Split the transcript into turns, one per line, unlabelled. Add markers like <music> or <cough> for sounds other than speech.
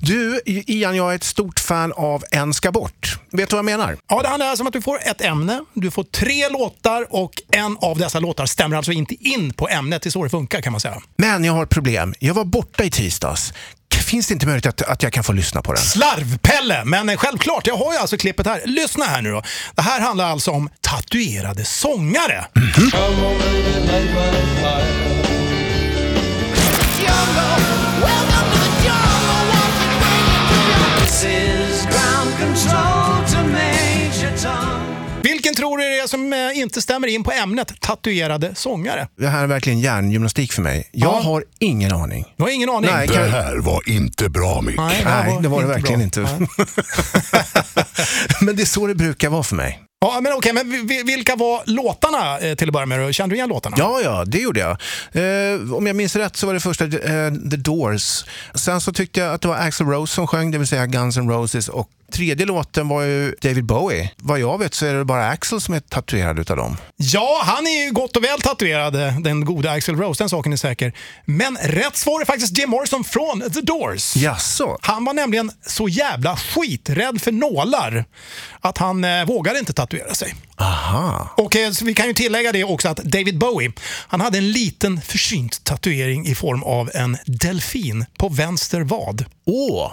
Du, Ian, jag är ett stort fan av En ska bort. Vet du vad jag menar?
Ja, det handlar alltså om att du får ett ämne, du får tre låtar och en av dessa låtar stämmer alltså inte in på ämnet. Det är så det funkar kan man säga.
Men jag har ett problem. Jag var borta i tisdags. K- Finns det inte möjlighet att, att jag kan få lyssna på den?
Slarvpelle! Men eh, självklart, jag har ju alltså klippet här. Lyssna här nu då. Det här handlar alltså om tatuerade sångare. Vilken tror du det är som eh, inte stämmer in på ämnet tatuerade sångare?
Det här är verkligen hjärngymnastik för mig. Jag
Ja.
har ingen aning.
Jag har ingen aning.
Nej,
Det
kan-
här var inte bra Mick.
Nej,
Nej, det var det verkligen inte.
bra.
<laughs>
Nej.
Men det är så det brukar vara för mig.
Ja, men okej, men vi- vi- vilka var låtarna eh, till att börja med? då? Kände du igen låtarna?
Ja, ja, det gjorde jag. Eh, om jag minns rätt så var det första eh, The Doors. Sen så tyckte jag att det var Axl Rose som sjöng, det vill säga Guns N' Roses. Och tredje låten var ju David Bowie. Vad jag vet så är det bara Axl som är tatuerad utav dem.
Ja, han är ju gott och väl tatuerad, eh, den gode Axel Rose, den saken är säker. Men rätt svar är faktiskt Jim Morrison från The Doors.
Jaså?
Han var nämligen så jävla skiträdd för nålar att han eh, vågade inte tatuera sig.
Aha.
Och eh, så vi kan ju tillägga det också att David Bowie, han hade en liten försynt tatuering i form av en delfin på vänster vad.
Åh!